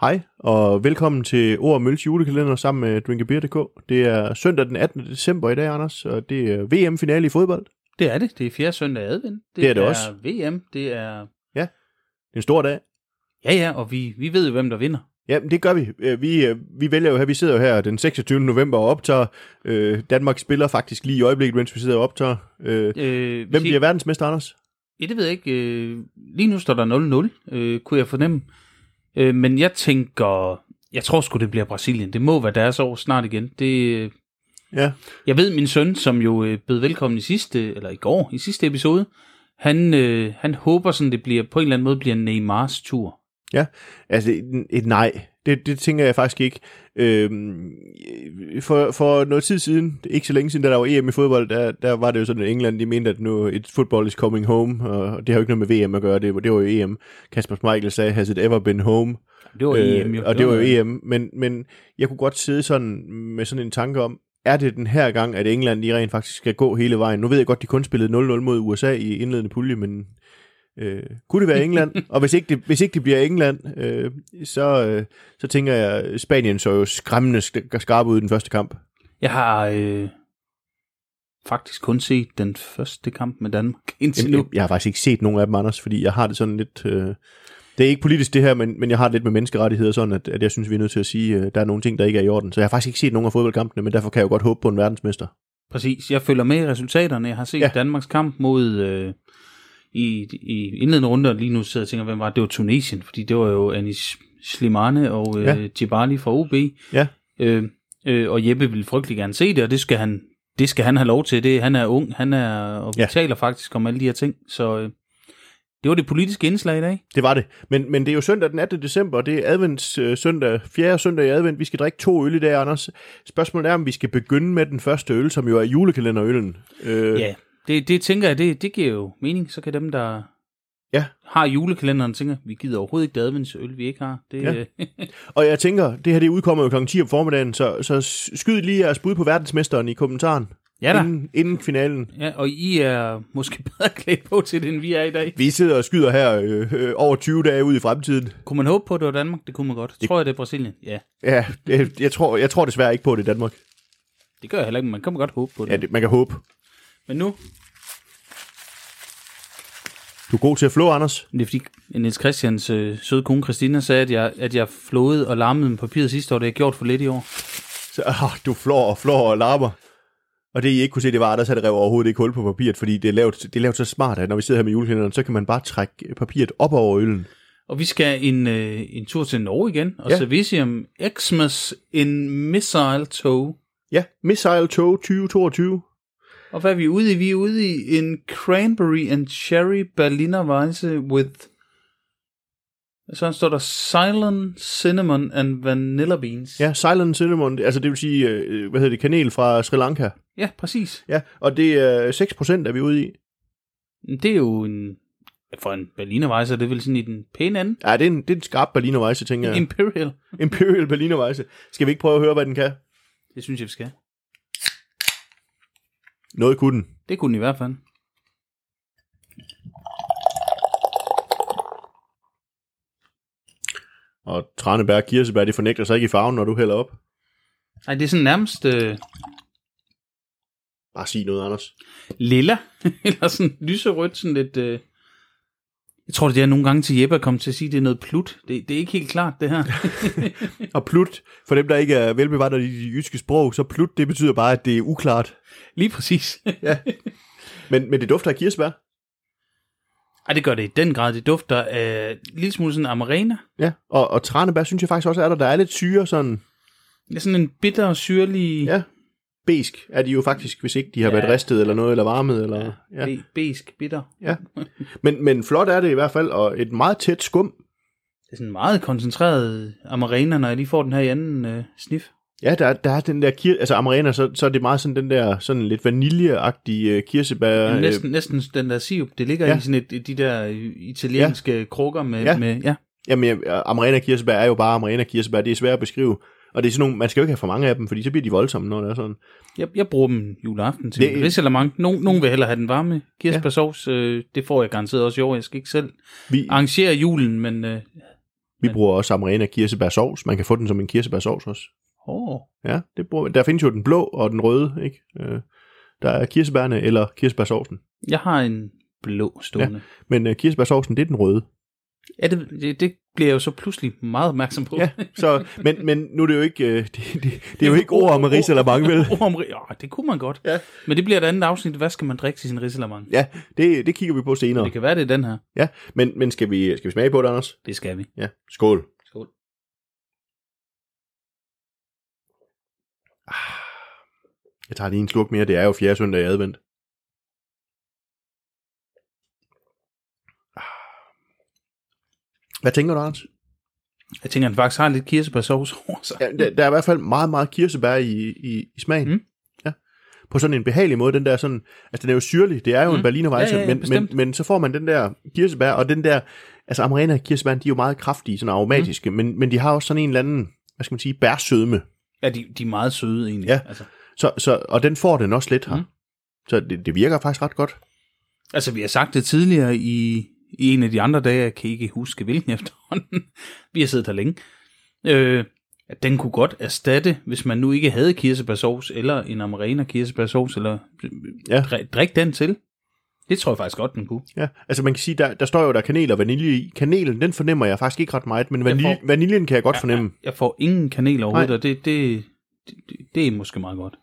Hej, og velkommen til Ord og Mølles julekalender sammen med drinkabeer.dk. Det er søndag den 18. december i dag, Anders, og det er VM-finale i fodbold. Det er det. Det er fjerde søndag i advent. Det er det er også. VM. Det er... Det er en stor dag. Ja, ja, og vi, vi ved jo, hvem der vinder. Jamen, det gør vi. Øh, Vi, øh, vi vælger jo her, vi sidder jo her den 26. november og optager. Øh, Danmark spiller faktisk lige i øjeblikket, mens vi sidder og optager. Øh, Øh, hvem bliver verdensmester, Anders? Ja, det ved jeg ikke. Øh, lige nu står der 0-0, øh, kunne jeg fornemme. Øh, men jeg tænker... Jeg tror sgu, det bliver Brasilien. Det må være deres år snart igen. Det, øh, Ja, jeg ved, min søn, som jo øh, bød velkommen i sidste, eller i går, i sidste episode, han, øh, han håber sådan, det bliver på en eller anden måde bliver Neymars tur. ja. Altså, et, et nej. Det, det tænker jeg faktisk ikke. Øhm, for, for noget tid siden, ikke så længe siden, da der var EM i fodbold, der, der var det jo sådan, at England de mente, at nu et football is coming home, og det har jo ikke noget med VM at gøre, det, var- det var jo EM. Kasper Schmeichel sagde, has it ever been home? Det var øh, EM jo. Og det var jo EM, men, men jeg kunne godt sidde sådan med sådan en tanke om, er det den her gang, at England de rent faktisk skal gå hele vejen? Nu ved jeg godt, de kun spillede 0-0 mod USA i indledende pulje, men øh, kunne det være England? og hvis ikke det, hvis ikke det bliver England, øh, så, øh, så tænker jeg, Spanien så jo skræmmende sk- skarp ud i den første kamp. Jeg har øh, faktisk kun set den første kamp med Danmark indtil Jamen, nu. jeg, jeg har faktisk ikke set nogen af dem, Anders, fordi jeg har det sådan lidt... Øh, det er ikke politisk det her, men, men jeg har det lidt med menneskerettigheder sådan, at, at jeg synes, vi er nødt til at sige, at øh, der er nogle ting, der ikke er i orden. Så jeg har faktisk ikke set nogen af fodboldkampene, men derfor kan jeg jo godt håbe på en verdensmester. Præcis. Jeg følger med i resultaterne. Jeg har set Ja. ja. Danmarks kamp mod... Øh, i, I indledende runder lige nu sidder jeg og tænker, hvem var det? Det var Tunesien, fordi det var jo Anis Slimane og øh, Ja. ja. Djibali fra OB. Ja. Øh, øh, og Jeppe ville frygtelig gerne se det, og det skal han, det skal han have lov til. Det, han er ung, han er, og vi Ja. ja. taler faktisk om alle de her ting. Så øh, det var det politiske indslag i dag. Det var det. Men, men det er jo søndag den 18. december, og det er advents, øh, søndag, fjerde søndag i advent. Vi skal drikke to øl i dag, Anders. Spørgsmålet er, om vi skal begynde med den første øl, som jo er julekalenderøllen. Øh, Ja, det, det tænker jeg, det, det giver jo mening. Så kan dem, der Ja. har julekalenderen, tænker, vi gider overhovedet ikke det adventsøl, vi ikke har. Det, øh, Ja. ja. Og jeg tænker, det her det udkommer jo kl. 10 om formiddagen, så, så skyd lige jeres bud på verdensmesteren i kommentaren, ja, da. inden, inden finalen. ja, og I er måske bedre klædt på til det, end vi er i dag. Vi sidder og skyder her øh, øh, over 20 dage ud i fremtiden. Kunne man håbe på, at det var Danmark? Det kunne man godt. Tror jeg, det er Brasilien? Ja, Ja, det, jeg, tror, jeg tror desværre ikke på det i Danmark. det gør jeg heller ikke, men man kan godt håbe på det. Ja, det, man kan håbe. Men nu, Du er god til at flå, Anders. det er fordi Niels Christians øh, søde kone Christina sagde, at jeg, at jeg flåede og larmede med papiret sidste år, det har jeg gjort for lidt i år. Så, åh, du flår og flår og larmer. Og det, I ikke kunne se, det var, at der satte rev overhovedet ikke hul på papiret, fordi det er lavet, det er lavet så smart, at når vi sidder her med juleklænderen, så kan man bare trække øh, papiret op over øllen. Og vi skal en, øh, en tur til Norge igen, og Ja. ja. Servicium Xmas in Missile Tow. Ja, Missile Tow 2022. Og hvad er vi ude i? Vi er ude i en cranberry and cherry Berliner Weisse with... Så står der silent cinnamon and vanilla beans. Ja, Silent Cinnamon, altså det vil sige, øh, hvad hedder det, kanel fra Sri Lanka. ja præcis. Ja, og det er 6% er vi ude i. Det er jo en... For en Berliner Weisse er det vel sådan i den pæne ende. Ja, det er en, det er en skarp Berliner Weisse, tænker Ja. jeg. Imperial. Imperial Berliner Weisse. Skal vi ikke prøve at høre, hvad den kan? Det synes jeg, vi skal. Noget kunne den. Det kunne den i hvert fald. Og tranebær og kirsebær, det fornægter sig ikke i farven, når du hælder op. Ej, det er sådan nærmest øh, Bare sig noget, Anders. lilla. Eller sådan lyserødt, sådan lidt... Øh... Jeg tror, det er nogle gange til Jeppe at komme til at sige, at det er noget plut. Det, det er ikke helt klart, det her. Og plut, for dem, der ikke er velbevandret i de jyske sprog, så plut, det betyder bare, at det er uklart. Lige præcis. Men, men det dufter af kirsebær. Ej, det gør det i den grad. Det dufter af øh, en lille smule sådan amarena. Ja, og, og tranebær synes jeg faktisk også er der. Der er lidt syre, sådan Det er sådan en bitter og syrlig Ja, besk er de jo faktisk, hvis ikke de har været Ja. ristet eller noget, eller varmet. Eller, ja. be- besk bitter. Ja. Men, men flot er det i hvert fald, og et meget tæt skum. Det er sådan en meget koncentreret amarena, når jeg lige får den her i anden øh, snif. Ja, der, er- der er den der kir altså amarena, så, så er det meget sådan den der sådan lidt vaniljeagtige øh, kirsebær. Ja, øh, næsten, næsten den der sirup, det ligger ja. ja. i sådan et, de der øh, italienske ja. krukker med... Ja. Ja. med ja. Jamen, ja, amarena kirsebær er jo bare amarena kirsebær. Det er svært at beskrive. Og det er sådan nogle, man skal jo ikke have for mange af dem, fordi så bliver de voldsomme, når det er sådan. Jeg, jeg bruger dem juleaften til Det- det... ridsalermang. Nogen, nogen vil hellere have den varme kirsebærsovs. Øh, det får jeg garanteret også i år. Jeg skal ikke selv Vi, arrangere julen, men øh, Vi Men- bruger også Amarena kirsebærsovs. Man kan få den som en kirsebærsovs også. Åh, oh, Ja, det bruger, der findes jo den blå og den røde, ikke? Øh, der er kirsebærne eller kirsebærsovsen. jeg har en blå stående. Ja. Men øh, kirsebærsovsen, det er den røde. Ja, det, det, det bliver jeg jo så pludselig meget opmærksom på. Ja, så, men, men nu er det jo ikke, øh, det, det, det er jo Jamen, ikke ord om ord- risalamang, vel? Ord om ri- Åh, det kunne man godt. Ja. Men det bliver et andet afsnit. Hvad skal man drikke til sin risalamang? Ja, det, det kigger vi på senere. Det kan være, det er den her. Ja, men, men skal, vi, skal vi smage på det, Anders? Det skal vi. Ja, skål. Skål. Ah, Jeg tager lige en slurk mere, det er jo fjerde søndag i advent. Ah. Hvad tænker du, Anders? Jeg tænker, han faktisk har lidt kirsebærsovs over sig. Ja, der, der er i hvert fald meget, meget kirsebær i, i, i smagen. Mm. Ja. På sådan en behagelig måde, den der sådan, altså den er jo syrlig, det er jo mm. en Mm. berlinerweisse, Ja, ja, ja, men, men, bestemt. men så får man den der kirsebær, og den der, altså amarena kirsebær, de er jo meget kraftige, sådan aromatiske, mm. men, men de har også sådan en eller anden, hvad skal man sige, bærsødme. Ja, de, de er meget søde egentlig. Ja. Altså, Så, så, og den får den også lidt her. Mm. Mm. Så det, det virker faktisk ret godt. altså, vi har sagt det tidligere i, i en af de andre dage. Jeg kan ikke huske, hvilken efterhånden. vi har siddet her længe. Øh, at den kunne godt erstatte, hvis man nu ikke havde kirsebærsovs, eller en amarena kirsebærsovs, eller Ja. Drik- drik den til. Det tror jeg faktisk godt, den kunne. Ja, altså man kan sige, der, der står jo der er kanel og vanilje i. Kanelen, den fornemmer jeg faktisk ikke ret meget, men Jeg vanilje, får- vaniljen kan jeg godt fornemme. Jeg får ingen kanel overhovedet, Nej. og det, det, det, det er måske meget godt.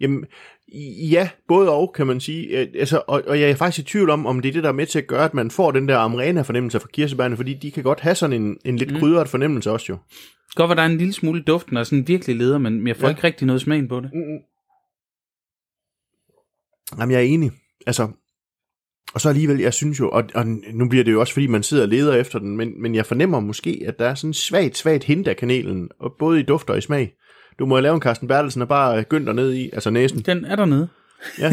Jamen, i- ja, både og, kan man sige. Øh, Altså, og, og jeg er faktisk i tvivl om, om det er det, der er med til at gøre, at man får den der amarena-fornemmelse fra kirsebærne, fordi de kan godt have sådan en, en lidt mm. krydret fornemmelse også jo. Godt, at der er en lille smule duft, når sådan virkelig leder, men jeg får Ja. ja. ikke rigtig noget smagen på det. Jamen, jeg er enig. Altså, og så alligevel, jeg synes jo, og, og nu bliver det jo også, fordi man sidder og leder efter den, men, men jeg fornemmer måske, at der er sådan svagt, svagt hint af kanelen, og både i duft og i smag. Du må jo lave en Carsten Bertelsen og bare gønter ned i, altså næsen. Den er dernede. Ja.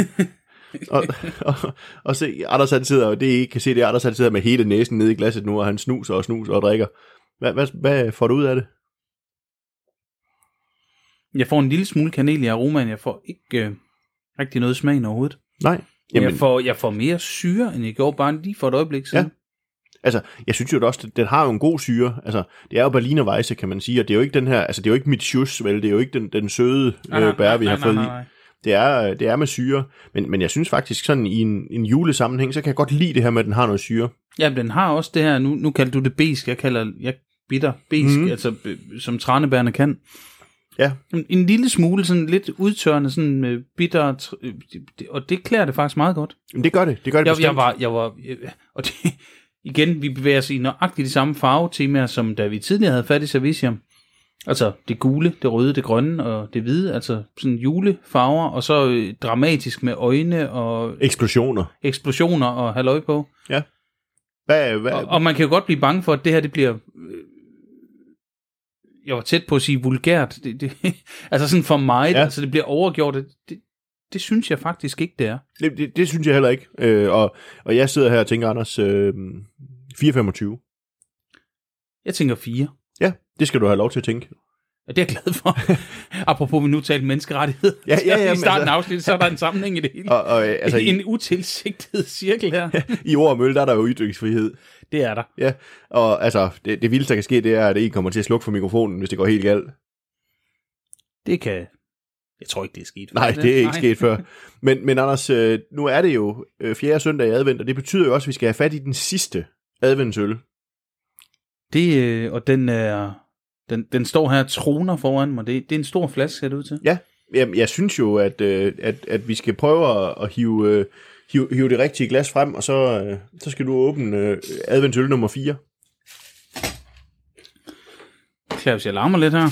og, og, og se, Anders han sidder, og det I ikke kan se, det er Anders han sidder med hele næsen nede i glasset nu, og han snuser og snuser og drikker. Hvad, hvad, hvad får du ud af det? Jeg får en lille smule kanel i aromaen. Jeg får ikke øh, rigtig noget smagen overhovedet. Nej. Jamen. Jamen, Jeg, får, jeg får mere syre, end jeg gjorde bare lige for et øjeblik siden. Ja. altså, jeg synes jo også, at den har jo en god syre. Altså, det er jo berlinerweisse, kan man sige, og det er jo ikke den her, altså det er jo ikke mit sjus, vel, det er jo ikke den, den søde øh, bær, vi har fået i. Det er, øh, det er med syre, men, men jeg synes faktisk sådan i en, en julesammenhæng, så kan jeg godt lide det her med, at den har noget syre. Jamen, den har også det her, nu, nu kalder du det besk, jeg kalder jeg bitter besk, Mhm. mm. altså øh, som tranebærne kan. Ja. En, en lille smule, sådan lidt udtørrende, sådan øh, bitter, tr- øh, det- det- og det klæder det faktisk meget godt. Men det gør det, det gør det Jeg, bestemt. jeg var, jeg var, øh, og det, igen, vi bevæger os i nøjagtigt de samme farvetemaer, som da vi tidligere havde fat i Servicium. Altså det gule, det røde, det grønne og det hvide, altså sådan julefarver, og så øh, dramatisk med øjne og Eksplosioner. eksplosioner og halløj på. Hvad, hvad, Og, og man kan jo godt blive bange for, at det her det bliver... øh, Jeg var tæt på at sige vulgært. Det, det, altså sådan for mig, Ja. ja. altså det bliver overgjort. Det, det, det synes jeg faktisk ikke, det er. Det, det, det synes jeg heller ikke. Øh, og, og jeg sidder her og tænker, Anders, øh, 4,25. Jeg tænker fire. Ja, det skal du have lov til at tænke. Og det er jeg glad for. Apropos, vi nu talte menneskerettighed. Ja, ja, ja, I men starten altså- af afsnittet, så er der en sammenhæng i det hele. Og, og øh, altså, Altså, i, en utilsigtet cirkel her. i ord og mølle, der er der jo ytringsfrihed. Det er der. Ja, og altså, det, det vildeste, der kan ske, det er, at en kommer til at slukke for mikrofonen, hvis det går helt galt. Det kan... Jeg tror ikke, det er sket. Nej, det er ikke sket før. Men, men Anders, øh, nu er det jo øh, fjerde søndag i advent, og det betyder jo også, at vi skal have fat i den sidste adventsøl. Det, øh, og den er... Den, den står her og troner foran mig. Det, det er en stor flaske, ser det ud til. Ja, jamen, jeg synes jo, at, øh, at, at vi skal prøve at, at hive, øh, hive, hive det rigtige glas frem, og så, øh, så skal du åbne øh, adventsøl nummer 4. Claus, jeg larmer lidt her.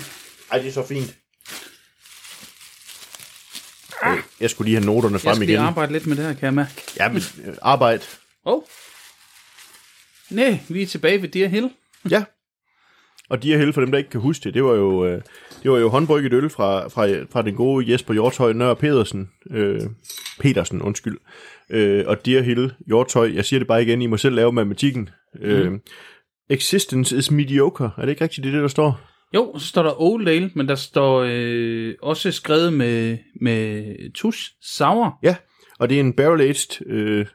Ej, det er så fint. Øh, Jeg skulle lige have noterne Jeg frem skal igen. lige arbejde lidt med det her, kan jeg mærke. Jamen, øh, arbejde. Åh. Oh. Nej, vi er tilbage ved Deer Hill. Ja. Og de er heldige for dem, der ikke kan huske det. Det var jo, øh, det var jo håndbrygget øl fra, fra, fra den gode Jesper Hjortøj Nør Pedersen. Øh, Petersen, undskyld. Øh, og Dear Hill Hjortøj, jeg siger det bare igen, I må selv lave matematikken. Øh, Existence is mediocre. Er det ikke rigtigt, det er det, der står? Jo, så står der Old Ale, men der står øh, også skrevet med, med tusch sour. Ja, og det er en barrel-aged øh,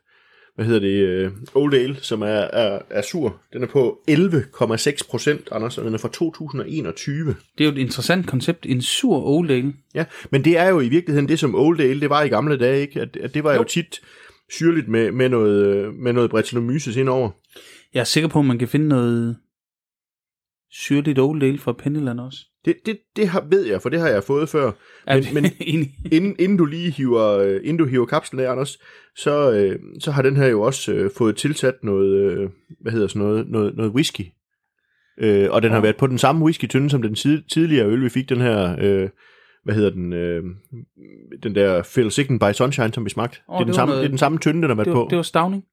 hvad hedder det, øh, Old Ale, som er, er, er sur. Den er på 11,6 procent, Anders, og den er fra 2021. Det er jo et interessant koncept. En sur old ale. Ja, men det er jo i virkeligheden det, som Old Ale, det var i gamle dage, ikke? At, at det var jo, jo tit syrligt med, med noget, øh, med noget Brettanomyces indover. Jeg er sikker på, at man kan finde noget syrligt old ale fra Pennyland også. Det, det, det har, ved jeg, for det har jeg fået før. Er Men, det men enig? inden, inden du lige hiver, øh, inden du hiver kapslen af, Anders, så, øh, så har den her jo også øh, fået tilsat noget, øh, hvad hedder sådan noget, noget, noget whisky. Øh, og den har været på den samme whisky-tynde, som den tid, tidligere øl, vi fik den her, øh, hvad hedder den, øh, den der Phil Sigden by Sunshine, som vi smagte. Åh, Oh, det, er det var den samme, noget- det er den samme tynde, den har været Det var, på. det var Stavning.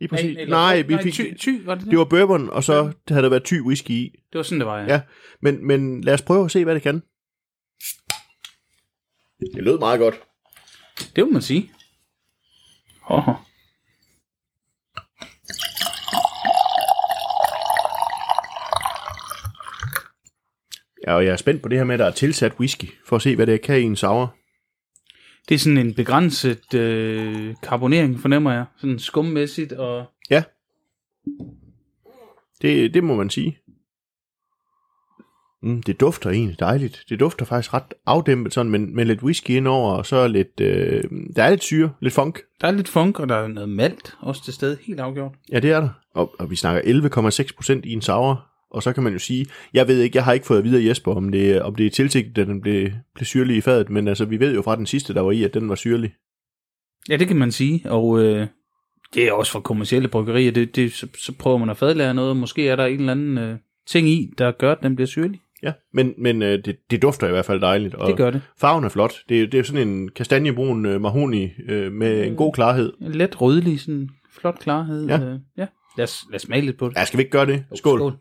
Lige præcis. eller- Nej, vi fik, ty, ty, var det, det? det var bourbon, og så havde der været ty whisky i. det var sådan, det var, ja. Ja. Men, men lad os prøve at se, hvad det kan. Det lød meget godt. Det må man sige. Oh. Ja, og jeg er spændt på det her med, at der er tilsat whisky, for at se, hvad det kan i en sour. Det er sådan en begrænset øh, karbonering, fornemmer jeg. Sådan skummæssigt og... Ja. Det, det må man sige. Mm, det dufter egentlig dejligt. Det dufter faktisk ret afdæmpet sådan, men, men lidt whisky indover, og så lidt... Øh, der er lidt syre, lidt funk. Der er lidt funk, og der er noget malt også til stede, helt afgjort. Ja, det er der. Og, og vi snakker 11,6 procent i en sour. Og så kan man jo sige, jeg ved ikke, jeg har ikke fået at vide af Jesper, om det, om det er tilsigtet, at den blev, blev syrlig i fadet, men altså, vi ved jo fra den sidste, der var i, at den var syrlig. Ja, det kan man sige, og øh, det er også for kommersielle bryggerier, det, det, så, så prøver man at fadlære noget, og måske er der en eller anden øh, ting i, der gør, at den bliver syrlig. Ja, men, men øh, det, det dufter i hvert fald dejligt. Og Det gør det. Farven er flot. Det, er- det er sådan en kastanjebrun øh, mahoni øh, med en Mm. god klarhed. En Let rødlig, sådan flot klarhed. Ja. Øh, ja. Lad, os, lad os smage lidt på det. Ja, skal vi ikke gøre det? Skål. Skål.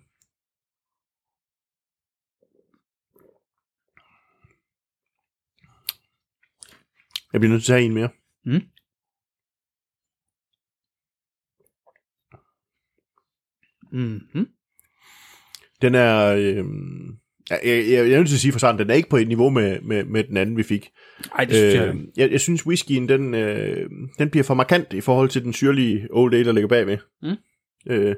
Jeg bliver nødt til at tage en mere. Mm. Mm-hmm. Den er... Øh, jeg, jeg, jeg, jeg er nødt til at sige for sådan, den er ikke på et niveau med, med, med den anden, vi fik. Ej, det synes øh, jeg øh, jeg, jeg synes, whiskyen, den, øh, den bliver for markant i forhold til den syrlige old ale, der ligger bagved. Mm. Øh,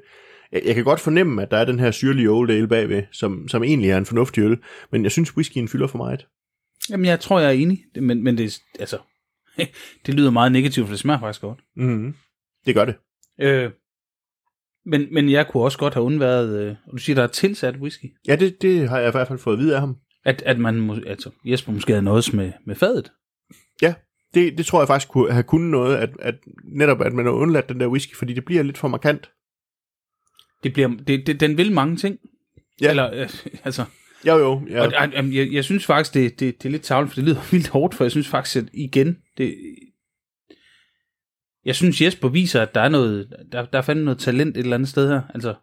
jeg, jeg kan godt fornemme, at der er den her syrlige old ale bagved, som, som egentlig er en fornuftig øl, men jeg synes, whiskyen fylder for meget. Jamen, jeg tror, jeg er enig, Det- men, men det, er- altså, det lyder meget negativt, for det smager faktisk godt. Mm-hmm. Det gør det. Øh, men, men jeg kunne også godt have undværet, øh, og du siger, der er tilsat whisky, Ja, det, det har jeg i hvert fald fået at vide af ham. at, at man, må, altså, Jesper måske havde noget med, med fadet. Det, det tror jeg faktisk kunne have kunnet noget, at, at netop at man har undladt den der whisky, fordi det bliver lidt for markant. Det bliver, det, det, den vil mange ting. Ja. Eller, øh, altså, Jo, jo. Ja. og, og, jamen, jeg, jeg synes faktisk, det, det, det er lidt tavligt, for det lyder vildt hårdt, for jeg synes faktisk, at igen, det, jeg synes Jesper viser, at der er noget, der, der er fandme noget talent et eller andet sted her. Altså,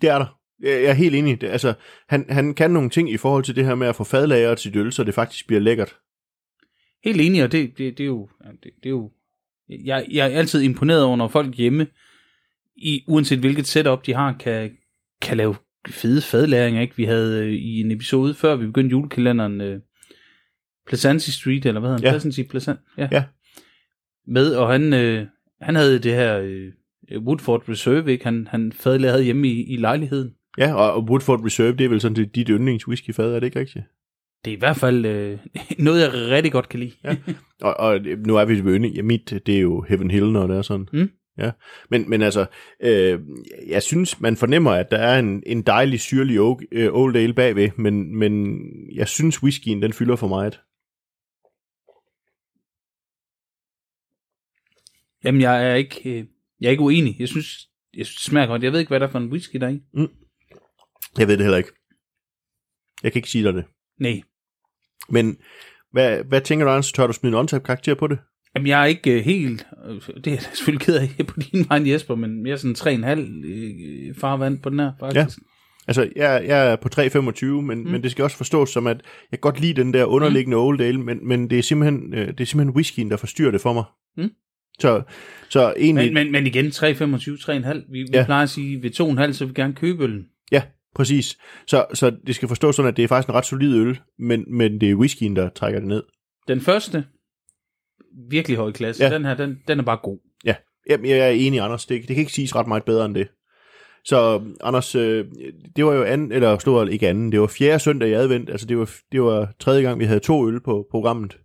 Det er der. Jeg jeg er helt enig. Det, altså, han, han kan nogle ting i forhold til det her med at få fadlageret sit øl, så det faktisk bliver lækkert. Helt enig, og det, det, det er jo... ja, Det, det er jo jeg, jeg er altid imponeret over, når folk hjemme, i, uanset hvilket setup de har, kan, kan lave fede fadlæringer. Ikke? Vi havde øh, i en episode, før vi begyndte julekalenderen, øh, Placency Street, eller hvad hedder Ja. han? Placency Placent, ja. Ja. Med, og han, øh, han havde det her øh, Woodford Reserve, ikke? Han, han fadlærede hjemme i, i lejligheden. Ja, og, og Woodford Reserve, det er vel sådan det, dit yndlingswhiskyfad, er det ikke rigtigt? Det er i hvert fald øh, noget, jeg rigtig godt kan lide. Ja. Og, og nu er vi ved yndling. Ja, mit, det er jo Heaven Hill, når det er sådan. Mm. Ja. Men, men altså, øh, jeg synes, man fornemmer, at der er en, en dejlig syrlig oak, øh, old ale bagved, men, men jeg synes, whiskyen, den fylder for meget. Jamen, jeg er ikke, øh, jeg er ikke uenig. Jeg synes, jeg synes, det smager godt. Jeg ved ikke, hvad der er for en whisky der er i. Jeg ved det heller ikke. Jeg kan ikke sige dig det. Nej. Men hvad, hvad tænker du, Anders? Tør du smide en on karakter på det? Jamen, jeg er ikke øh, helt... øh, Det er jeg da selvfølgelig ked af på din vej, Jesper, men mere sådan 3,5 øh, farvand på den her, faktisk. Altså, jeg, jeg er på 3,25, men, mm. men det skal også forstås som, at jeg kan godt lide den der underliggende mm. old ale, men, men det, er simpelthen, øh, det er simpelthen whiskyen, der forstyrrer det for mig. Mm. Så, så egentlig... Men, men, men igen, 3,25, 3,5. Vi, vi Ja. plejer at sige, ved 2,5, så vil vi gerne købe øllen. Ja, præcis. Så, så det skal forstås sådan, at det er faktisk en ret solid øl, men, men det er whiskyen, der trækker det ned. Den første, virkelig høj klasse, Ja. ja. den her, den, den er bare god. Jamen, jeg er enig, Anders. Det, det kan ikke siges ret meget bedre end det. Så Anders, øh, det var jo anden, eller stod ikke anden, det var fjerde søndag i advent, altså det var, det var tredje gang, vi havde to øl på programmet.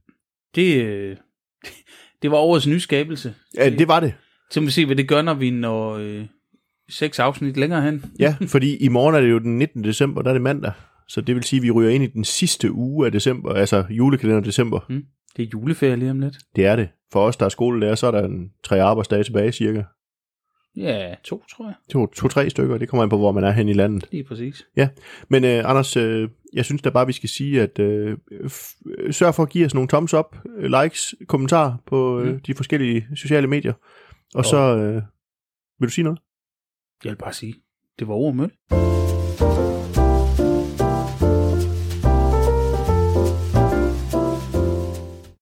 Det, øh, det var årets nyskabelse. Ja, det var det. Så må vi se, hvad det gør, når vi når øh, seks afsnit længere hen. Ja, fordi i morgen er det jo den 19. december, der er det mandag. Så det vil sige, at vi ryger ind i den sidste uge af december, altså julekalender december. Det er juleferie lige om lidt. Det er det. For os, der er skolelærer, så er der en tre arbejdsdage tilbage cirka. Ja, to, tror jeg. To, to, tre stykker, det kommer an på, hvor man er hen i landet. Lige præcis. Men øh, Anders, øh, jeg synes da bare, vi skal sige, at øh, f- øh, sørg for at give os nogle thumbs up, øh, likes, kommentarer på øh, Mm. de forskellige sociale medier. Og Og- så, øh, vil du sige noget? Jeg vil bare sige, det var ord møl.